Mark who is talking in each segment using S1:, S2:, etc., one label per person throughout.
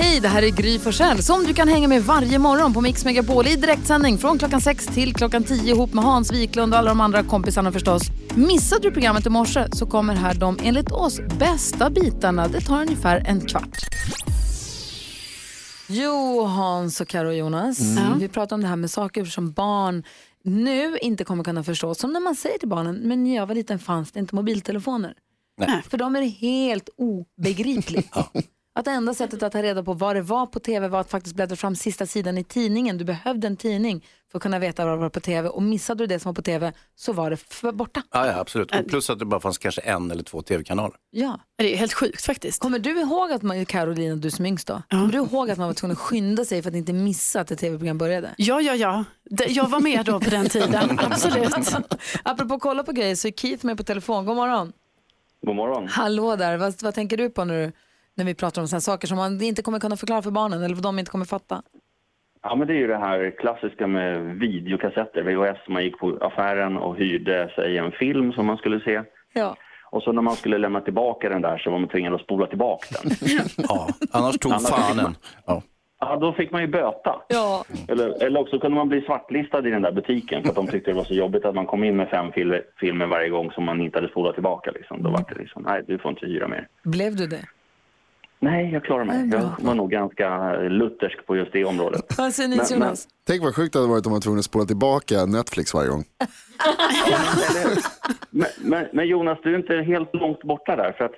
S1: Hej, det här är Gry Forssell som du kan hänga med varje morgon på Mix Megapol i direktsändning från klockan 6 till klockan 10 ihop med Hans Wiklund och alla de andra kompisarna förstås. Missade du programmet i morse så kommer här de enligt oss bästa bitarna. Det tar ungefär en kvart. Jo, Hans och Karo och Jonas, vi pratar om det här med saker som barn nu inte kommer kunna förstå. Som när man säger till barnen, men när jag var liten fanns det inte mobiltelefoner. För dem är det helt obegripligt. Att det enda sättet att ta reda på vad det var på tv var att faktiskt bläddra fram sista sidan i tidningen. Du behövde en tidning för att kunna veta vad det var på tv och missade du det som var på tv så var det för borta.
S2: Ja, ja, absolut. Och plus att det bara fanns kanske en eller två tv-kanaler.
S1: Ja.
S3: Det är ju helt sjukt faktiskt.
S1: Kommer du ihåg att man, Carolina, du som är yngst då, kommer du ihåg att man var tvungen att skynda sig för att inte missa att ett tv-program började?
S3: Ja, ja, ja. Det- Jag var med då på den tiden, absolut.
S1: Apropå kolla på grejer så är Keith med på telefon. God morgon.
S4: God morgon.
S1: Hallå där, vad, vad tänker du på när, du, när vi pratar om sådana saker som man inte kommer kunna förklara för barnen eller vad de inte kommer fatta?
S4: Ja, men det är ju det här klassiska med videokassetter, VHS. Man gick på affären och hyrde sig en film som man skulle se.
S1: Ja.
S4: Och så när man skulle lämna tillbaka den där så var man tvingad att spola tillbaka den.
S2: Ja, annars tog
S4: Annars-
S2: fanen. Ja.
S4: Ja, då fick man ju böta.
S1: Ja.
S4: Eller, eller också kunde man bli svartlistad i den där butiken för att de tyckte det var så jobbigt att man kom in med fem fil- filmer varje gång som man inte hade spolat tillbaka. Liksom. Då var det liksom, nej du får inte hyra mer.
S1: Blev du det?
S4: Nej, jag klarar mig. Jag var nog ganska luthersk på just det området.
S1: Vad säger ni
S4: Men-
S1: Jonas?
S5: Tänk vad sjukt det hade varit om man var tvungen att spola tillbaka Netflix varje gång.
S4: Men, men, men Jonas, du är inte helt långt borta där. För att,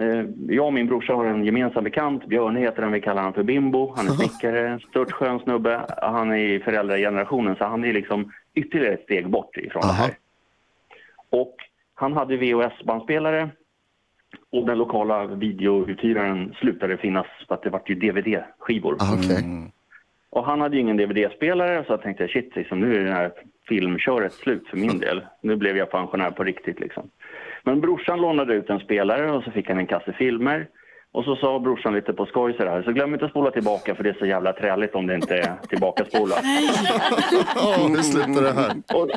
S4: eh, jag och min brorsa har en gemensam bekant. Björn heter han, vi kallar han för Bimbo. Han är snickare, stört skön snubbe. Han är i föräldragenerationen, så han är liksom ytterligare ett steg bort ifrån det
S5: Aha.
S4: här. Och han hade VHS-bandspelare och den lokala videouthyraren slutade finnas så att det vart ju DVD-skivor.
S5: Ah, Okej.
S4: Och han hade ju ingen DVD-spelare så jag tänkte shit, liksom, nu är det här filmköret slut för min del. Nu blev jag pensionär på riktigt liksom. Men brorsan lånade ut en spelare och så fick han en kasse filmer. Och så sa brorsan lite på skoj så här, så glöm inte att spola tillbaka för det är så jävla träligt om det inte är tillbaka spolat.
S5: Åh, nu slutar det här.
S4: Och,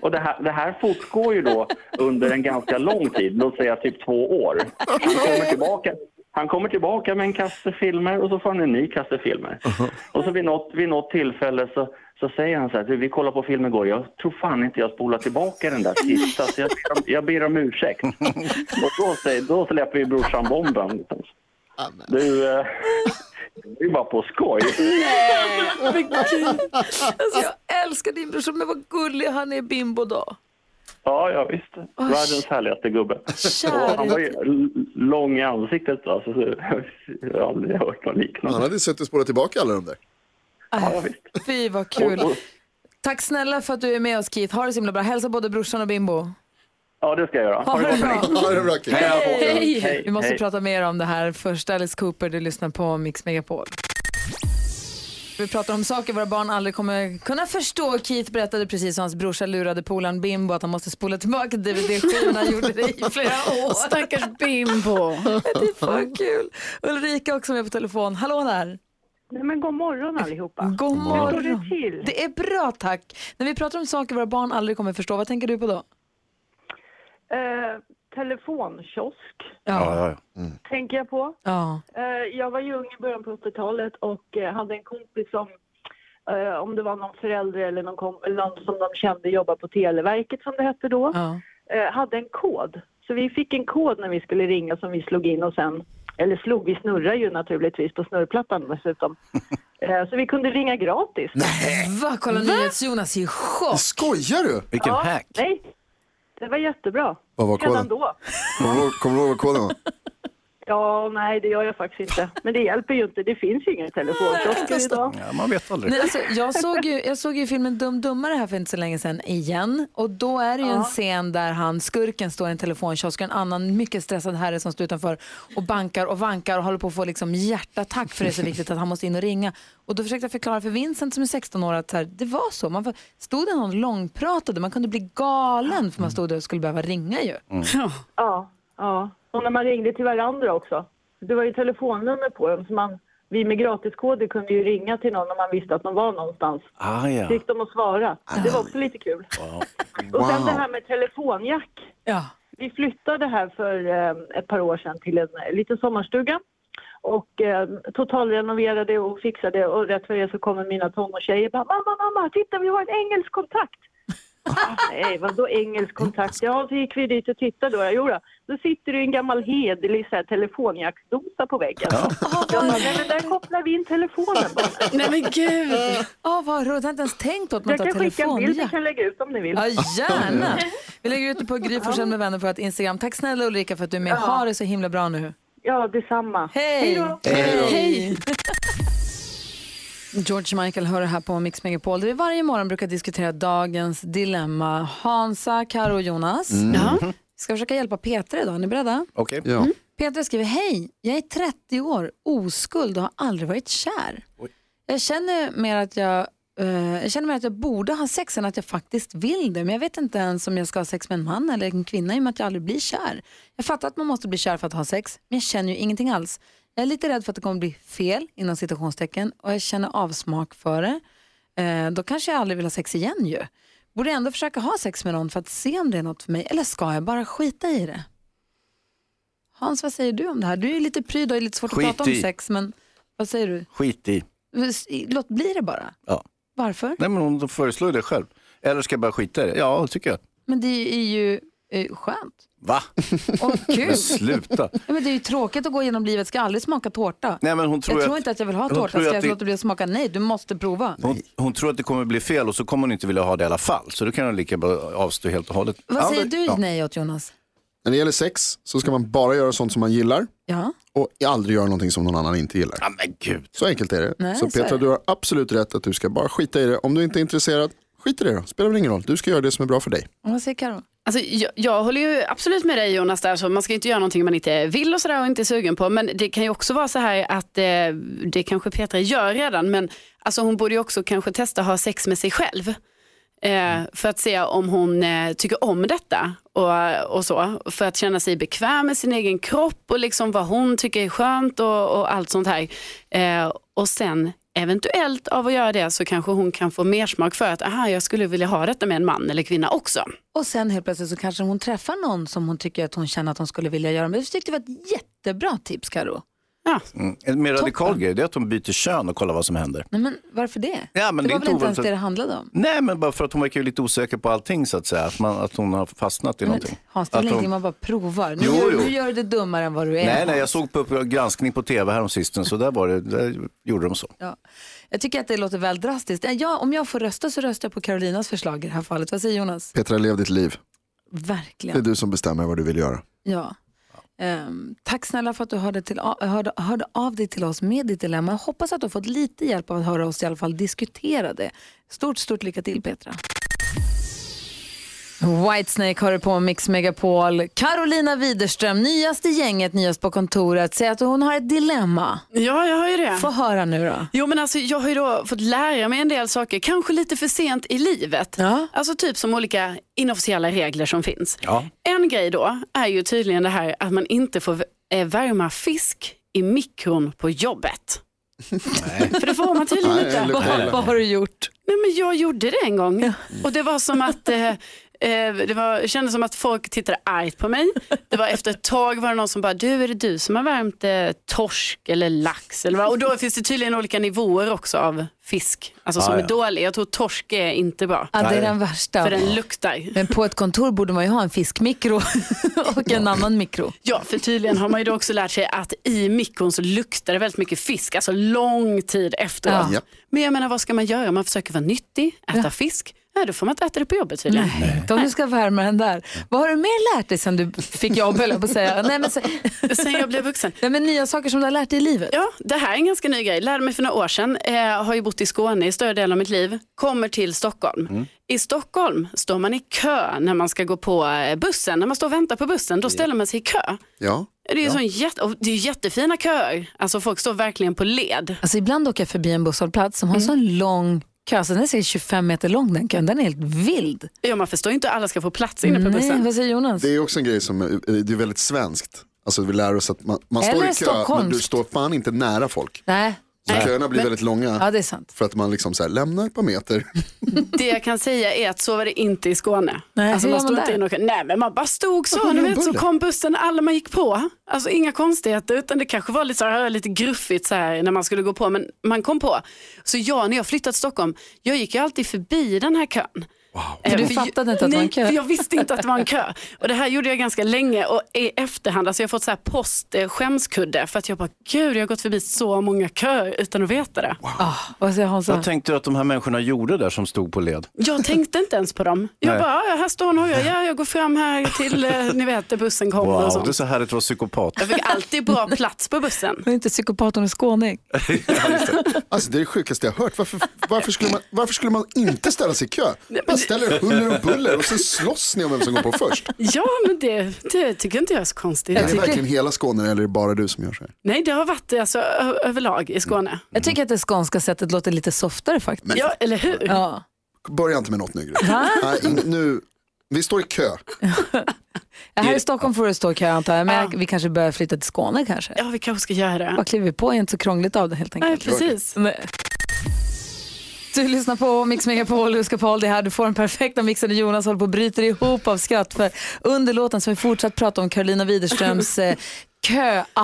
S4: och det, här, det här fortgår ju då under en ganska lång tid, låt säga typ två år. Han kommer tillbaka, han kommer tillbaka med en kasse filmer och så får han en ny kasse filmer. Och så vid något, vid något tillfälle så, så säger han så här, "Du, vi kollar på film igår, jag tror fan inte jag spolar tillbaka den där sista så jag ber om, jag ber om ursäkt. Och då, säger, då släpper ju brorsan bomben. Du, eh, det är bara på skoj.
S1: Alltså, jag älskar din brorsa, men vad gullig han är bimbo då.
S4: Ja, ja visst. Världens härligaste gubbe. Och han var ju l- lång i ansiktet alltså, så jag har aldrig hört något
S5: Han
S4: liknande.
S5: hade ju suttit och spolat tillbaka alla de där.
S4: Ja, visst.
S1: Fy vad kul.
S4: Och, och,
S1: Tack snälla för att du är med oss Keith. Ha det så himla bra. Hälsa både brorsan och bimbo.
S4: ja, det ska jag göra.
S1: Ha
S4: Ha det
S1: det
S4: gott.
S1: bra.
S5: Ja, det är bra kul.
S1: Hej!
S4: Hej,
S1: Vi måste
S4: hej.
S1: prata mer om det här. Först Alice Cooper, du lyssnar på Mix Megapol. Vi pratar om saker våra barn aldrig kommer kunna förstå. Keith berättade precis hur hans brorsa lurade polaren Bimbo att han måste spola tillbaka DVD-skivorna. Han gjorde det i flera år.
S3: Stackars bimbo.
S1: Det är för kul. Ulrika också med på telefon. Hallå där.
S6: Nej, men god morgon allihopa.
S1: God
S6: Hur står det
S1: morgon.
S6: till?
S1: Det är bra tack. När vi pratar om saker våra barn aldrig kommer förstå, vad tänker du på då?
S6: Eh, telefonkiosk
S2: Ja, ja, ja.
S6: tänker jag på.
S1: Ja.
S6: Eh, jag var ju ung i början på 80-talet och eh, hade en kompis som eh, om det var någon förälder eller någon, kom- eller någon som de kände jobbade på Televerket som det hette då,
S1: ja.
S6: eh, hade en kod. Så vi fick en kod när vi skulle ringa som vi slog in och sen, eller slog, vi snurrar ju naturligtvis på snurrplattan dessutom. eh, så vi kunde ringa gratis.
S1: Va? Kolla NyhetsJonas är i chock.
S5: Skojar du?
S2: Vilken hack.
S6: Nej, det var jättebra.
S5: Vad var
S6: Redan
S5: koden?
S6: då.
S5: Kommer du ihåg- kommer du ihåg vad koden var?
S6: Ja, nej, det gör jag faktiskt inte. Men det hjälper ju inte. Det finns ju inga telefonkiosker idag.
S2: Ja, man vet aldrig.
S1: Nej, alltså, jag, såg ju, jag såg ju filmen Dum Dummare här för inte så länge sedan igen. Och då är det ju en scen där han, skurken står i en telefonkiosk och en annan mycket stressad herre som står utanför och bankar och vankar och håller på att få liksom hjärtattack för det är så viktigt att han måste in och ringa. Och då försökte jag förklara för Vincent som är 16 år att så här, det var så. Man var- stod där någon och långpratade, man kunde bli galen för man stod där och skulle behöva ringa ju.
S3: Ja.
S6: Ja, ja. Och när man ringde till varandra också. Det var ju telefonnummer på dem. Så man, vi med gratiskoder kunde ju ringa till någon om man visste att de var någonstans.
S2: Ah, ja.
S6: Så gick de och svara. Det var också lite kul. Och sen det här med telefonjack.
S1: Ja.
S6: Vi flyttade här för eh, ett par år sedan till en eh, liten sommarstuga och eh, totalrenoverade och fixade och rätt vad det är så kommer mina tonårstjejer bara mamma, mamma, titta vi har en engelsk kontakt. Ah, Nej, vadå engelsk kontakt? Ja, så gick vi dit och tittade då. Jo då, då sitter det ju en gammal hederlig så här, telefonjacksdosa på väggen. Jag bara, nej men där kopplar vi in telefonen bara.
S3: Nej men gud.
S1: Åh, vad roligt, jag har inte ens tänkt på att man
S6: Jag
S1: tar
S6: kan skicka en bild, jag
S1: telefonjack.
S6: kan lägga ut om ni vill.
S1: Ja, gärna. Vi lägger ut det på Gry Forssell med vänner på vårt Instagram. Tack snälla Ulrika för att du är med. Ha det så himla bra nu.
S6: Ja, detsamma.
S1: Hej!
S6: då!
S3: Hej.
S1: George Michael hör det här på Mix Megapol där vi varje morgon brukar diskutera dagens dilemma. Hansa, Karo och Jonas.
S3: Ja.
S1: Vi ska försöka hjälpa Peter idag. Är ni beredda?
S2: Okej.
S5: Ja.
S6: Mm.
S1: Peter skriver, hej, jag är 30 år, oskuld och har aldrig varit kär.
S2: Oj.
S1: Jag känner, mer att jag, eh, jag känner mer att jag borde ha sex än att jag faktiskt vill det. Men jag vet inte ens om jag ska ha sex med en man eller en kvinna i och med att jag aldrig blir kär. Jag fattar att man måste bli kär för att ha sex, men jag känner ju ingenting alls. Jag är lite rädd för att det kommer bli fel, inom citationstecken, och jag känner avsmak för det. Eh, då kanske jag aldrig vill ha sex igen ju. Borde jag ändå försöka ha sex med någon för att se om det är något för mig, eller ska jag bara skita i det? Hans, vad säger du om det här? Du är ju lite pryd och är lite svårt
S2: Skit
S1: att prata om
S2: i.
S1: sex, men vad säger du?
S2: Skit i.
S1: Låt bli det bara.
S2: Ja.
S1: Varför?
S2: Nej, men hon föreslår ju det själv. Eller ska jag bara skita i det? Ja, det tycker jag.
S1: Men det är ju eh, skönt
S2: Va?
S1: och kul.
S2: Men sluta.
S1: Ja, men det är ju tråkigt att gå igenom livet, ska aldrig smaka tårta.
S2: Nej, men hon tror
S1: jag
S2: ju
S1: tror
S2: att-
S1: inte att jag vill ha
S2: hon
S1: tårta,
S2: tror ju
S1: ska
S2: att
S1: jag
S2: det-
S1: låta bli att smaka? Nej, du måste prova.
S2: Hon, hon tror att det kommer bli fel och så kommer hon inte vilja ha det i alla fall. Så då kan hon lika bra avstå helt och hållet.
S1: Vad
S2: Ja,
S1: säger
S2: men-
S1: du
S2: Ja.
S1: nej åt Jonas?
S5: När det gäller sex så ska man bara göra sånt som man gillar
S1: Ja,
S5: och aldrig göra någonting som någon annan inte gillar.
S2: Ja, men gud.
S5: Så enkelt är det.
S1: Nej,
S5: så
S1: så är
S5: Petra,
S1: det.
S5: du har absolut rätt att du ska bara skita i det. Om du inte är intresserad, skit i det då. Spelar väl ingen roll. Du ska göra det som är bra för dig.
S1: och vad säger Karo?
S3: Alltså, jag, jag håller ju absolut med dig Jonas, där, så man ska inte göra någonting man inte vill och, sådär och inte är sugen på. Men det kan ju också vara så här att eh, det kanske Petra gör redan, men alltså, hon borde ju också kanske testa att ha sex med sig själv. Eh, för att se om hon eh, tycker om detta och, och så. För att känna sig bekväm med sin egen kropp och liksom vad hon tycker är skönt och, och allt sånt här. Eh, och sen eventuellt av att göra det så kanske hon kan få mer smak för att aha, jag skulle vilja ha detta med en man eller kvinna också.
S1: Och sen helt plötsligt så kanske hon träffar någon som hon tycker att hon känner att hon skulle vilja göra. Men jag tyckte det var ett jättebra tips Karo.
S3: Ja.
S2: Mm. En mer radikal grej det är att hon byter kön och kollar vad som händer.
S1: Nej men varför det?
S2: Ja, men
S1: det
S2: det är
S1: var
S2: inte
S1: väl inte ens det
S2: ovanligt att-
S1: det handlade om?
S2: Nej, men bara för att hon verkar ju lite osäker på allting så att säga. Att, man, att hon har fastnat i någonting.
S1: Hans, det är
S2: Att
S1: väl
S2: hon-
S1: ingenting man bara provar? Nu,
S2: Jo,
S1: gör,
S2: jo.
S1: nu gör du det dummare än vad du är.
S2: Nej, nej, jag
S1: Hans.
S2: såg på Uppdrag granskning på tv häromsistens så där, var det, där gjorde de så.
S1: Ja. Jag tycker att det låter väl drastiskt. Eh, Jag, om jag får rösta så röstar jag på Carolinas förslag i det här fallet. Vad säger Jonas?
S5: Petra, lev ditt liv. Det är
S1: Verkligen.
S5: du som bestämmer vad du vill göra.
S1: Ja. Ehm, tack snälla för att du hörde, till, hörde, hörde av dig till oss med ditt dilemma. Jag hoppas att du har fått lite hjälp av att höra oss i alla fall diskutera det. Stort, stort lycka till Petra. Whitesnake har du på Mix Megapol. Carolina Widerström, nyast i gänget, nyast på kontoret, säger att hon har ett dilemma.
S3: Ja, jag har ju det.
S1: Få höra nu då.
S3: Jo men alltså jag har ju då fått lära mig en del saker, kanske lite för sent i livet.
S1: Ja.
S3: Alltså typ som olika inofficiella regler som finns.
S2: Ja.
S3: En grej då är ju tydligen det här att man inte får eh, värma fisk i mikron på jobbet. För det får man tydligen
S5: Nej,
S3: inte.
S5: eller-
S1: Vad, vad har du gjort?
S3: Nej, men jag gjorde det en gång och det var som att eh, eh, det var, kändes som att folk tittade argt på mig. Det var efter ett tag var det någon som bara, du är det du som har värmt eh, torsk eller lax? Eller vad? Och då finns det tydligen olika nivåer också av fisk, alltså som
S2: Ah,
S3: är
S2: ja.
S3: dålig. Jag tror torsk är inte bra,
S1: Ja, det är den värsta.
S3: för den luktar.
S1: Men på ett kontor borde man ju ha en fiskmikro och en annan mikro.
S3: Ja, för tydligen har man ju då också lärt sig att i mikron så luktar det väldigt mycket fisk, alltså lång tid efteråt.
S1: Ja.
S5: Japp.
S3: Men jag menar, vad ska man göra? Man försöker vara nyttig, äta fisk. Ja, då får man inte äta det på jobbet tydligen.
S1: Nej. Om du ska värma den där. Vad har du mer lärt dig sen du fick jobb, höll jag på att säga. Nej, men, sen,
S3: Sen jag blev vuxen.
S1: nej, men nya saker som du har lärt dig i livet.
S3: Ja, det här är en ganska ny grej. Lärde mig för några år sedan. Eh, har ju bott i Skåne i större delen av mitt liv. Kommer till Stockholm. I Stockholm står man i kö när man ska gå på eh, bussen. När man står och väntar på bussen, då ställer man sig i kö.
S5: Ja.
S3: Det är, ju sån jätte, och det är jättefina köer. Alltså folk står verkligen på led.
S1: Alltså, ibland åker jag förbi en busshållplats som har sån lång kö, alltså, den är säkert 25 meter lång den kön. Den är helt vild.
S3: Ja, man förstår ju inte hur alla ska få plats inne på
S1: Nej,
S3: bussen.
S1: vad säger Jonas?
S5: Det är också en grej som eh, det är väldigt svenskt. Alltså vi lär oss att man, man står
S1: Eller
S5: i kö men
S1: stockholmskt.
S5: du står fan inte nära folk.
S1: Nej,
S5: Så köerna blir väldigt långa
S1: ja det är sant.
S5: för att man liksom så här, lämnar ett par meter.
S3: Det jag kan säga är att så var det inte i Skåne.
S1: Nej,
S3: alltså,
S1: hur
S3: man
S1: gör
S3: stod
S1: man
S3: inte
S1: där?
S3: i någon kö. Nej, men man bara stod så.
S5: Varför
S3: Du
S5: var det
S3: vet, så
S5: buller?
S3: kom bussen alla man gick på. Alltså inga konstigheter, utan det kanske var lite, så här, lite gruffigt så här, när man skulle gå på, men man kom på. Så jag, när jag flyttade till Stockholm, jag gick ju alltid förbi den här kön. Eh,
S1: För du
S3: jag-
S1: fattade inte att det var en kö?
S3: Nej, för jag visste inte att det var en kö. Och det här gjorde jag ganska länge och i efterhand, alltså jag har fått så här post eh, skämskudde för att jag bara, gud jag har gått förbi så många köer utan att veta det.
S1: Ah, vad säger Hansa?
S2: Vad tänkte du att de här människorna gjorde där som stod på led?
S3: Jag tänkte inte ens på dem. Jag
S2: Nej.
S3: bara, ja, här står hon, ja, ja, jag går fram här till, eh, ni vet, där bussen kommer och
S2: Wow, det är
S3: sånt.
S2: så härligt att vara psykopat.
S3: Jag fick alltid bra plats på bussen.
S1: Men är inte psykopat, hon är skåning.
S5: Alltså det är det sjukaste jag har hört. Varför, varför, skulle, man, varför skulle man inte ställa sig i kö? Man ställer huller och buller och sen slåss ni om vem som går på först.
S3: Ja, men det, det tycker inte jag är så konstigt.
S5: Är det verkligen hela Skåne eller är det bara du som gör så här?
S3: Nej, det har varit alltså, ö- överlag i Skåne.
S1: Jag tycker att det skånska sättet låter lite softare faktiskt.
S5: Men-
S3: Ja, eller hur?
S1: Ja.
S5: Börja inte med något nu. Gry. Nej, in- nu. Vi står i kö.
S1: Här i Stockholm får det stå i kö antar jag, men
S3: Ja.
S1: jag- vi kanske börjar flytta till Skåne kanske.
S3: Ja, vi kanske ska göra det.
S1: Vad kliver vi på är inte så krångligt av det helt
S3: Nej,
S1: enkelt.
S3: precis.
S1: Nej. Du lyssnar på Mix Megapol, Huska Paul, det är här du får den perfekta mixen och Jonas håller på och bryter ihop av skratt för under låten som vi fortsatt pratar om Carolina Widerströms eh,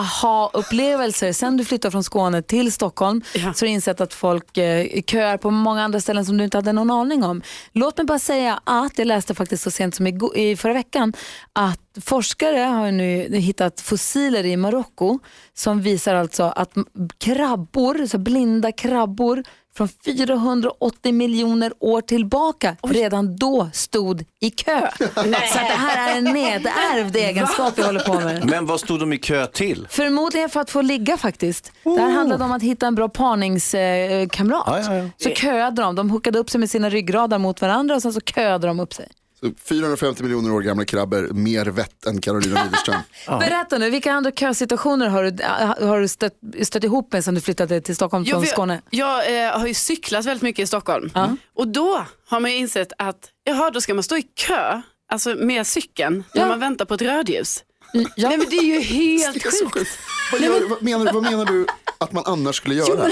S1: kö-aha-upplevelser. Sen du flyttade från Skåne till Stockholm
S3: Ja.
S1: så har du insett att folk eh, köar på många andra ställen som du inte hade någon aning om. Låt mig bara säga att jag läste faktiskt så sent som i, i förra veckan att forskare har ju nu hittat fossiler i Marocko som visar alltså att m- krabbor, så blinda krabbor från 480 miljoner år tillbaka redan då stod i kö. Så att det här är en nedärvd egenskap vi håller på med.
S2: Men vad stod de i kö till?
S1: Förmodligen för att få ligga faktiskt. Det
S3: Oh.
S1: här handlade om att hitta en bra parningskamrat. Eh, kamrat.
S2: Ja, ja, ja.
S1: Så köade de. De hookade upp sig med sina ryggradar mot varandra och sen så köade de upp sig.
S5: Så 450 miljoner år gamla krabbor, mer vett än Carolina Widerström.
S1: Berätta nu, vilka andra kösituationer har du, har du stött, stött ihop med sen du flyttade till Stockholm
S3: Jo,
S1: från
S3: för
S1: Skåne?
S3: Jag, jag eh, har ju cyklat väldigt mycket i Stockholm. Och då har man ju insett att, jaha, då ska man stå i kö, alltså med cykeln, när man väntar på ett rödljus.
S1: Ja.
S3: Nej, men det är ju helt
S5: Det är så
S3: sjukt.
S5: sjukt. Vad, gör, vad, menar, vad menar du att man annars skulle göra?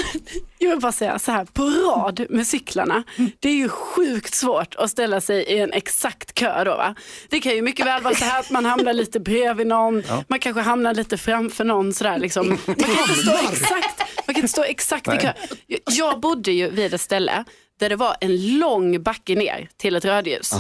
S3: Jag vill bara säga så här, på rad med cyklarna, det är ju sjukt svårt att ställa sig i en exakt kö då va. Det kan ju mycket väl vara så här att man hamnar lite bredvid någon, man kanske hamnar lite framför någon sådär liksom. Man kan inte stå exakt, man kan inte stå exakt i kö. Jag- Jag bodde ju vid ett ställe där det var en lång backe ner till ett rödljus.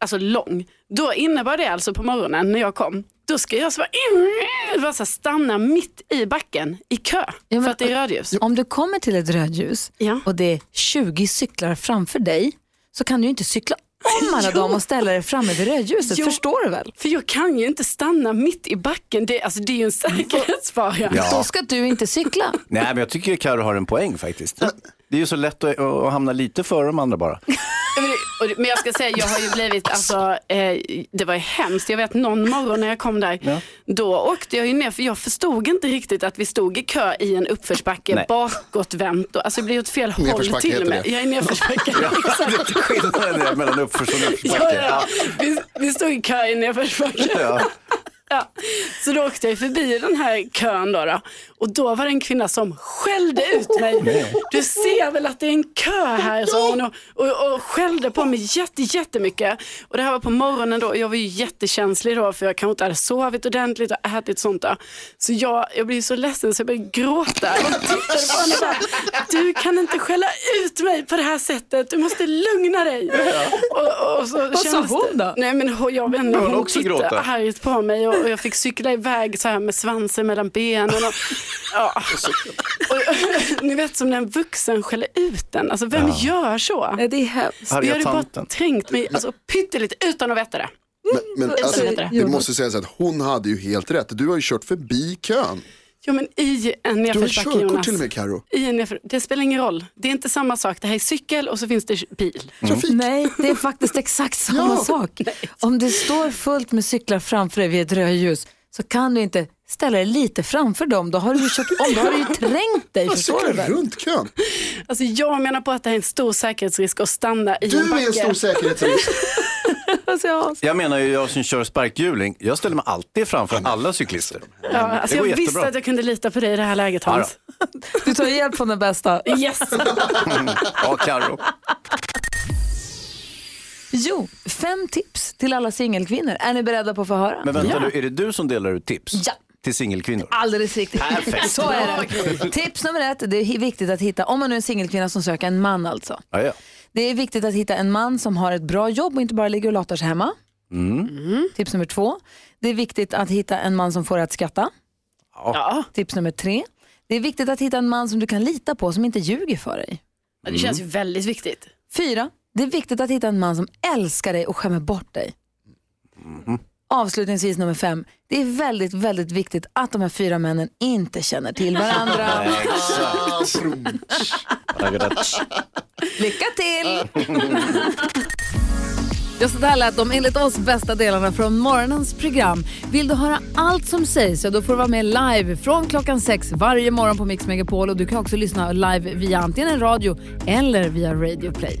S3: Alltså lång. Då innebar det alltså på morgonen när jag kom, då ska jag så bara, bara så här, stanna mitt i backen i kö
S1: men-
S3: för att det är rödljus.
S1: Om du kommer till ett rödljus
S3: Ja.
S1: och det är 20 cyklar framför dig så kan du ju inte cykla om alla
S3: Jo.
S1: dem och ställa dig framme vid rödljuset.
S3: Jo.
S1: Förstår du väl?
S3: För jag kan ju inte stanna mitt i backen. Det, alltså, det är ju en säkerhetsfara.
S2: Ja.
S1: Då ska du inte cykla.
S2: Nej, men jag tycker Karo har en poäng faktiskt. Det är ju så lätt att, att hamna lite före de andra bara.
S3: Men, det- och det- men jag ska säga, jag har ju blivit, alltså, eh, det var ju hemskt. Jag vet någon morgon när jag kom där, då åkte jag ju ner för jag förstod inte riktigt att vi stod i kö i en uppförsbacke
S2: Nej.
S3: bakåtvänt. Och, alltså det blev åt fel håll
S5: Nedförsbacke
S3: till och
S5: heter
S3: med.
S5: det.
S3: Jag är nedförsbacke. Exakt.
S2: Skillnaden är mellan uppförs och
S3: Ja,
S2: nedförsbacke.
S3: ja. Vi, vi stod i kö i nedförsbacke.
S2: Ja.
S3: Ja. Så då åkte jag ju förbi den här kön då, då. Och då var det en kvinna som skällde ut mig. Du ser väl att det är en kö här, sa hon. Och, och, och skällde på mig jätte, jättemycket. Och det här var på morgonen då. och Jag var ju jättekänslig då för jag kanske inte hade sovit ordentligt och ätit sånt där. Så jag, jag blev ju så ledsen så jag började gråta. Och tittade på henne och bara, du kan inte skälla ut mig på det här sättet. Du måste lugna dig. Och, och så
S1: Vad sa
S3: kändes
S1: hon
S3: det-
S1: då?
S3: Nej men hon- jag vet inte,
S2: Hon
S3: hon
S2: också
S3: tittade
S2: gråta.
S3: argt på mig och och jag fick cykla iväg så här med svansen mellan benen. Och, ja. och, jag- ni vet som när en vuxen skäller ut den. Alltså vem gör så?
S1: Nej, det är hemskt.
S2: Arga
S3: Jag hade bara
S2: tanten.
S3: trängt mig alltså, pyttelite utan att veta det.
S5: Men, men alltså,
S3: vet det.
S5: det måste sägas att hon hade ju helt rätt. Du har ju kört förbi kön.
S3: Ja, men i en
S5: Du har ju
S3: nedförsbacke
S5: körkort
S3: Jonas.
S5: till och med Karo.
S3: I en nedför... Det spelar ingen roll. Det är inte samma sak. Det här är cykel och så finns det bil.
S2: Mm.
S5: Trafik.
S1: Nej, det är faktiskt exakt samma sak. Om det står fullt med cyklar framför dig vid ett rödljus så kan du inte ställa dig lite framför dem. Då har du ju kört om, då har du ju trängt dig.
S5: Jag
S1: Förstår du
S5: cyklar
S1: väl?
S5: runt kön.
S3: Alltså, jag menar på att det här är en stor säkerhetsrisk att stanna i en
S5: Du
S3: backe.
S5: är en stor säkerhetsrisk.
S1: Alltså, ja.
S2: Jag menar ju jag som kör sparkhjuling, jag ställer mig alltid framför alla cyklister.
S3: ja, alltså,
S2: Det
S3: jag
S2: går
S3: visste
S2: jättebra.
S3: att jag kunde lita på dig i det här läget Hans.
S1: Du tar hjälp från den bästa.
S3: Yes!
S2: Ja, Carro.
S1: Jo, fem tips till alla singelkvinnor. Är ni beredda på att få höra?
S2: Men vänta nu, är det du som delar ut tips
S1: Ja.
S2: till singelkvinnor?
S1: Alldeles riktigt.
S2: Perfekt.
S1: Så är det. Tips nummer ett, det är viktigt att hitta, om man nu är en singelkvinna som söker en man alltså.
S2: Ja, ja.
S1: Det är viktigt att hitta en man som har ett bra jobb och inte bara ligger och latar sig hemma. Tips nummer två. Det är viktigt att hitta en man som får dig att skratta.
S3: Ja,
S1: Tips nummer tre. Det är viktigt att hitta en man som du kan lita på, som inte ljuger för dig.
S3: det känns ju väldigt viktigt.
S1: Fyra. Det är viktigt att hitta en man som älskar dig och skämmer bort dig. Avslutningsvis nummer fem. Det är väldigt, väldigt viktigt att de här fyra männen inte känner till varandra. Lycka till! Ja, så där lät de enligt oss bästa delarna från morgonens program. Vill du höra allt som sägs, ja, då får du vara med live från klockan sex varje morgon på Mix Megapol. Och du kan också lyssna live via antingen radio eller via Radio Play.